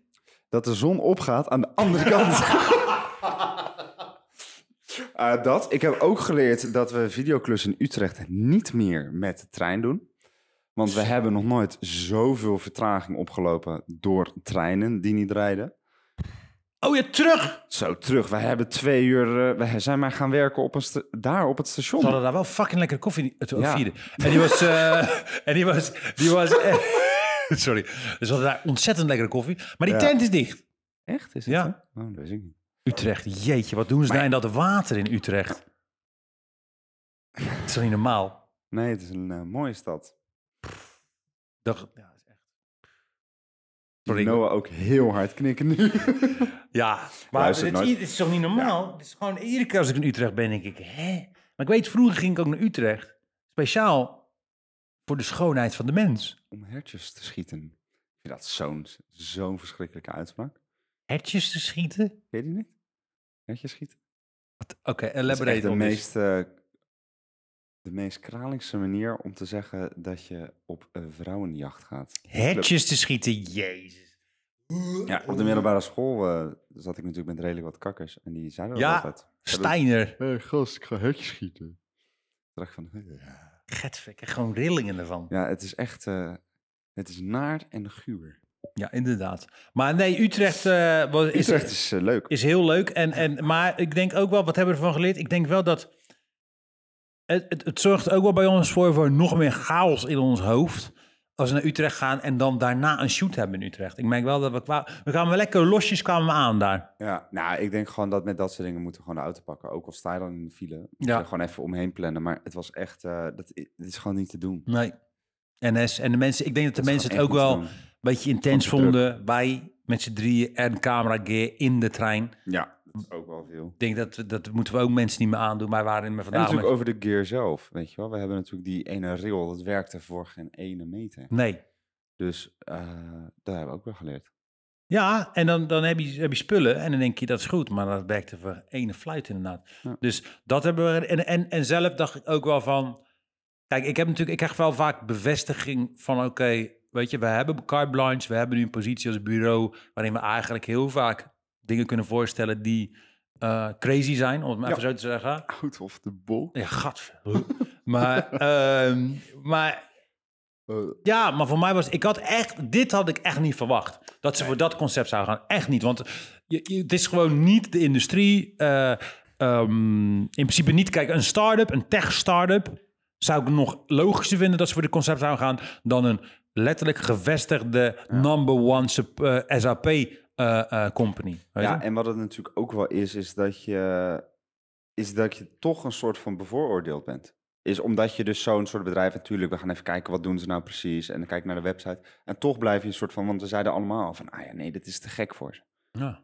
[SPEAKER 1] Dat de zon opgaat aan de andere kant. Eh, dat. Ik heb ook geleerd dat we videoclus in Utrecht niet meer met de trein doen. Want we hebben nog nooit zoveel vertraging opgelopen door treinen die niet rijden.
[SPEAKER 2] Oh ja, terug!
[SPEAKER 1] Zo terug. We hebben twee uur. eh, we zijn maar gaan werken op een sta- daar op het station.
[SPEAKER 2] Ze hadden daar wel fucking lekkere koffie te
[SPEAKER 1] Ja.
[SPEAKER 2] vieren. En die was... eh, en die was... Die was eh, sorry. Ze hadden daar ontzettend lekkere koffie. Maar die
[SPEAKER 1] Ja.
[SPEAKER 2] tent is dicht.
[SPEAKER 1] Echt? Is
[SPEAKER 2] Ja.
[SPEAKER 1] zo? Oh, dat weet ik niet.
[SPEAKER 2] Utrecht, jeetje. Wat doen ze daar in dat water in Utrecht? Dat is toch niet normaal?
[SPEAKER 1] Nee, het is een eh, mooie stad.
[SPEAKER 2] Dat, ja, dat is echt... Sorry.
[SPEAKER 1] Noah ook heel hard knikken nu.
[SPEAKER 2] Ja, maar
[SPEAKER 1] Luistert
[SPEAKER 2] dit,
[SPEAKER 1] nooit.
[SPEAKER 2] dit is toch niet normaal? Dit is gewoon iedere keer als ik in Utrecht ben, denk ik, hè? Maar ik weet, vroeger ging ik ook naar Utrecht. Speciaal voor de schoonheid van de mens.
[SPEAKER 1] Om hertjes te schieten. Ik vind dat zo'n zo'n verschrikkelijke uitspraak.
[SPEAKER 2] Hertjes te schieten?
[SPEAKER 1] Weet je die niet? Hertjes schieten?
[SPEAKER 2] Wat- Oké,
[SPEAKER 1] Dat is echt
[SPEAKER 2] elaborate
[SPEAKER 1] de
[SPEAKER 2] op eens.
[SPEAKER 1] meest, eh, de meest kralingste manier om te zeggen dat je op eh, vrouwenjacht gaat.
[SPEAKER 2] Hertjes te schieten, jezus.
[SPEAKER 1] Ja, op de middelbare school eh, zat ik natuurlijk met redelijk wat kakkers. En die zeiden dat
[SPEAKER 2] Ja,
[SPEAKER 1] altijd.
[SPEAKER 2] Steiner.
[SPEAKER 1] Hé, gast, ik ga hertjes schieten. Dacht ik van... eh.
[SPEAKER 2] Getver, ik krijg gewoon rillingen ervan.
[SPEAKER 1] Ja, het is echt... eh, het is naar en guur.
[SPEAKER 2] Ja, inderdaad. Maar nee, Utrecht, eh, was, is,
[SPEAKER 1] Utrecht is eh, leuk.
[SPEAKER 2] is heel leuk. En, en, maar ik denk ook wel, wat hebben we ervan geleerd? Ik denk wel dat het, het, het zorgt ook wel bij ons voor, voor nog meer chaos in ons hoofd. Als we naar Utrecht gaan en dan daarna een shoot hebben in Utrecht. Ik merk wel dat we qua, we kwamen wel lekker losjes kwamen we aan daar.
[SPEAKER 1] Ja, nou, ik denk gewoon dat met dat soort dingen moeten we gewoon de auto pakken. Ook al sta je dan in de file. Moet
[SPEAKER 2] Ja.
[SPEAKER 1] je er gewoon even omheen plannen. Maar het was echt... eh, dat, i- het is gewoon niet te doen.
[SPEAKER 2] Nee. NS en de mensen, ik denk dat de
[SPEAKER 1] Dat is
[SPEAKER 2] mensen het
[SPEAKER 1] gewoon
[SPEAKER 2] ook
[SPEAKER 1] echt
[SPEAKER 2] wel
[SPEAKER 1] niet
[SPEAKER 2] een
[SPEAKER 1] te
[SPEAKER 2] beetje intens
[SPEAKER 1] Gewoon te
[SPEAKER 2] vonden. Wij met z'n drieën en camera gear in de trein. Ik
[SPEAKER 1] doen. Ja, dat is ook wel veel.
[SPEAKER 2] denk dat we- dat moeten we ook mensen niet meer aandoen. Maar we waren er
[SPEAKER 1] En
[SPEAKER 2] vandaag
[SPEAKER 1] natuurlijk
[SPEAKER 2] met-
[SPEAKER 1] over de gear zelf, weet je wel. We hebben natuurlijk die ene rail, dat werkte voor geen ene meter.
[SPEAKER 2] Nee.
[SPEAKER 1] Dus eh daar hebben we ook wel geleerd.
[SPEAKER 2] Ja, en dan, dan heb, je, heb je spullen en dan denk je dat is goed, maar dat werkte voor ene fluit inderdaad.
[SPEAKER 1] Ja.
[SPEAKER 2] Dus dat hebben we. En, en, en zelf dacht ik ook wel van. Kijk, ik heb natuurlijk, ik krijg wel vaak bevestiging van oké, weet je, we hebben carte blanche, we hebben nu een positie als bureau waarin we eigenlijk heel vaak dingen kunnen voorstellen die eh, crazy zijn, om het maar
[SPEAKER 1] Ja.
[SPEAKER 2] even zo te zeggen.
[SPEAKER 1] Out of the box.
[SPEAKER 2] Ja, gat. maar, ehm, maar ja, maar voor mij was ik had echt dit had ik echt niet verwacht dat ze voor dat concept zouden gaan. Echt niet, want je, je- het is gewoon niet de industrie. eh, ehm, in principe niet. Kijk, een start-up, een tech-start-up, zou ik nog logischer vinden dat ze voor dit concept zouden gaan dan een letterlijk gevestigde number one sup- eh, SAP eh, eh, company. Weet
[SPEAKER 1] ja,
[SPEAKER 2] je?
[SPEAKER 1] en wat het natuurlijk ook wel is, is dat je, is dat je toch een soort van bevooroordeeld bent. Is omdat je dus zo'n soort bedrijf, natuurlijk, we gaan even kijken wat doen ze nou precies. En dan kijk ik naar de website. En toch blijf je een soort van, want we zeiden allemaal al van, ah ja, nee, dit is te gek voor ze.
[SPEAKER 2] Ja. Maar,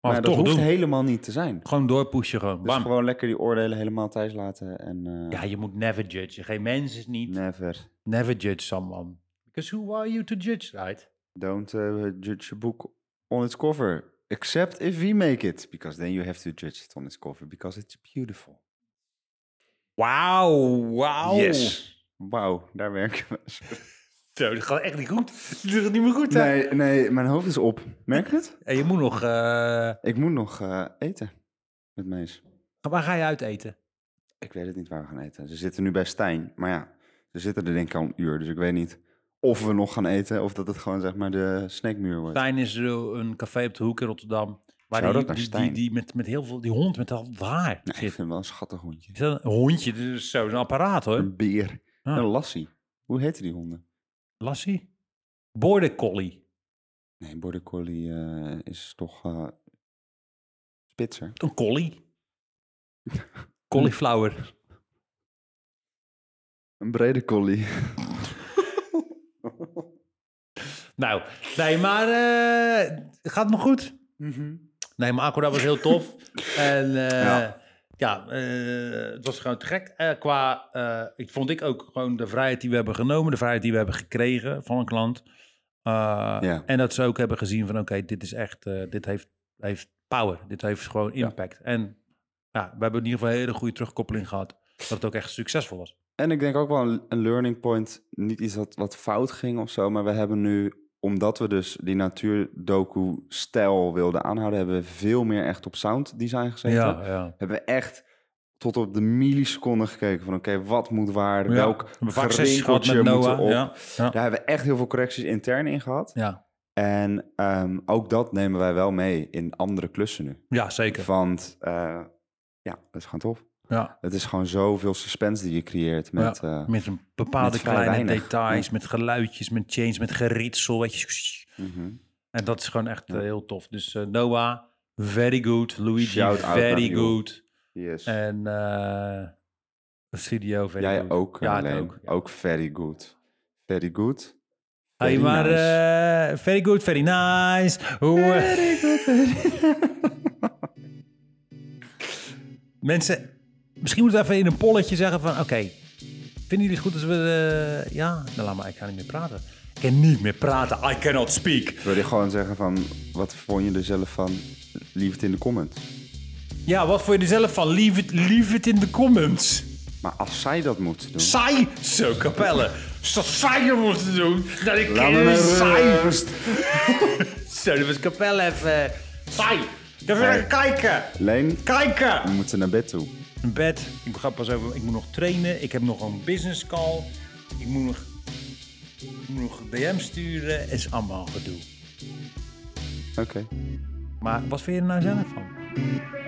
[SPEAKER 1] Maar ja, dat
[SPEAKER 2] toch
[SPEAKER 1] hoeft
[SPEAKER 2] doen.
[SPEAKER 1] helemaal niet te zijn.
[SPEAKER 2] Gewoon doorpushen, gewoon.
[SPEAKER 1] Dus
[SPEAKER 2] Bam.
[SPEAKER 1] gewoon lekker die oordelen helemaal thuis laten. En eh,
[SPEAKER 2] Ja, je moet never judge. Geen mens is niet.
[SPEAKER 1] never.
[SPEAKER 2] Never judge someone. Because who are you to judge, right?
[SPEAKER 1] Don't eh, judge a book on its cover. Except if we make it. Because then you have to judge it on its cover. Because it's beautiful.
[SPEAKER 2] Wauw, wauw.
[SPEAKER 1] Wauw, daar werken we.
[SPEAKER 2] Zo, dat gaat echt niet goed. Dat gaat niet meer goed, hè?
[SPEAKER 1] Nee, nee, mijn hoofd is op. Merk je het?
[SPEAKER 2] En je moet nog... eh,
[SPEAKER 1] Ik moet nog eh, eten. Met mees.
[SPEAKER 2] waar ga je uit eten?
[SPEAKER 1] Ik weet het niet waar we gaan eten. Ze zitten nu bij Stijn. Maar ja, ze zitten er denk ik al een uur. Dus ik weet niet of we nog gaan eten. Of dat het gewoon zeg maar de snackmuur wordt.
[SPEAKER 2] Stijn is zo een café op de hoek in Rotterdam. Waar
[SPEAKER 1] Zou
[SPEAKER 2] die,
[SPEAKER 1] dat naar
[SPEAKER 2] die, die,
[SPEAKER 1] Stijn?
[SPEAKER 2] die met, met heel veel... Die hond met al het haar
[SPEAKER 1] Nee, ik
[SPEAKER 2] zit.
[SPEAKER 1] vind hem wel een schattig hondje.
[SPEAKER 2] Is dat een hondje? Dat is zo'n apparaat, hoor.
[SPEAKER 1] Een beer.
[SPEAKER 2] Ah.
[SPEAKER 1] Een lassie. Hoe heten die honden?
[SPEAKER 2] Lassie? Border collie.
[SPEAKER 1] Nee, border collie eh, is toch eh, spitser.
[SPEAKER 2] Een collie. Cauliflower.
[SPEAKER 1] Een brede collie.
[SPEAKER 2] Nou, nee, maar... eh, gaat het nog goed?
[SPEAKER 1] Mhm.
[SPEAKER 2] Nee, maar Acura was heel tof. en eh, ja,
[SPEAKER 1] Ja.
[SPEAKER 2] eh, het was gewoon te gek. Eh, qua, eh, ik vond ik ook gewoon de vrijheid die we hebben genomen, de vrijheid die we hebben gekregen van een klant. Eh,
[SPEAKER 1] Ja.
[SPEAKER 2] En dat ze ook hebben gezien van oké, dit is echt, eh, dit heeft, heeft power, dit heeft gewoon impact. En ja, we hebben in ieder geval een hele goede terugkoppeling gehad, dat het ook echt succesvol was.
[SPEAKER 1] En ik denk ook wel een, een learning point. Niet iets wat, wat fout ging of zo. Maar we hebben nu, omdat we dus die natuurdoku-stijl wilden aanhouden... hebben we veel meer echt op sound design gezeten.
[SPEAKER 2] ja.
[SPEAKER 1] Hebben we echt tot op de milliseconde gekeken van... oké, wat moet waar?
[SPEAKER 2] Ja, we
[SPEAKER 1] Welk
[SPEAKER 2] hebben vaak sessies gehad
[SPEAKER 1] gerinkeltje
[SPEAKER 2] met
[SPEAKER 1] moet
[SPEAKER 2] Noah.
[SPEAKER 1] erop?
[SPEAKER 2] Ja, ja.
[SPEAKER 1] Daar hebben we echt heel veel correcties intern in gehad.
[SPEAKER 2] ja.
[SPEAKER 1] En ehm, ook dat nemen wij wel mee in andere klussen nu.
[SPEAKER 2] ja zeker.
[SPEAKER 1] Want eh, ja, dat is gewoon tof.
[SPEAKER 2] Ja.
[SPEAKER 1] Het is gewoon zoveel suspense die je creëert met...
[SPEAKER 2] Ja,
[SPEAKER 1] eh,
[SPEAKER 2] met een bepaalde
[SPEAKER 1] met vrij
[SPEAKER 2] kleine
[SPEAKER 1] weinig.
[SPEAKER 2] details, met geluidjes, met change, met geritsel. Weet je.
[SPEAKER 1] mhm.
[SPEAKER 2] En dat is gewoon echt eh, heel tof. Dus eh, Noah, very good. Luigi,
[SPEAKER 1] Shout out naar
[SPEAKER 2] very
[SPEAKER 1] Joel.
[SPEAKER 2] good.
[SPEAKER 1] Yes.
[SPEAKER 2] En eh, de studio, very
[SPEAKER 1] Jij
[SPEAKER 2] good.
[SPEAKER 1] ook,
[SPEAKER 2] eh, Ja, ik
[SPEAKER 1] alleen.
[SPEAKER 2] ook.
[SPEAKER 1] Ook very good. Very good.
[SPEAKER 2] Hey,
[SPEAKER 1] Very
[SPEAKER 2] maar
[SPEAKER 1] nice.
[SPEAKER 2] eh, very good, very nice. Hoe, eh, Mensen, misschien moeten we even in een polletje zeggen van... Oké, vinden jullie het goed als we... eh, ja, nou laat maar, ik ga niet meer praten. Ik kan niet meer praten. I cannot speak.
[SPEAKER 1] Wil je gewoon zeggen van, wat vond je er zelf van? Leave het in de comments.
[SPEAKER 2] Ja, wat vond je er zelf van? Leave it, leave it in the comments.
[SPEAKER 1] Maar als zij dat moeten doen...
[SPEAKER 2] Saai, zo kapellen. Zo saai om ons te doen. Dat ik
[SPEAKER 1] Laat me eh, met
[SPEAKER 2] saai.
[SPEAKER 1] rust.
[SPEAKER 2] Zo, dat was kapellen even. eh, Saai. Dan wil ik kijken.
[SPEAKER 1] Leen,
[SPEAKER 2] Kijken.
[SPEAKER 1] we moeten naar bed toe.
[SPEAKER 2] Een bed. Ik ga pas even. Ik moet nog trainen. Ik heb nog een business call. Ik moet nog. Ik moet nog DM sturen. Het is allemaal gedoe.
[SPEAKER 1] Oké.
[SPEAKER 2] Maar wat vind je er nou zelf van?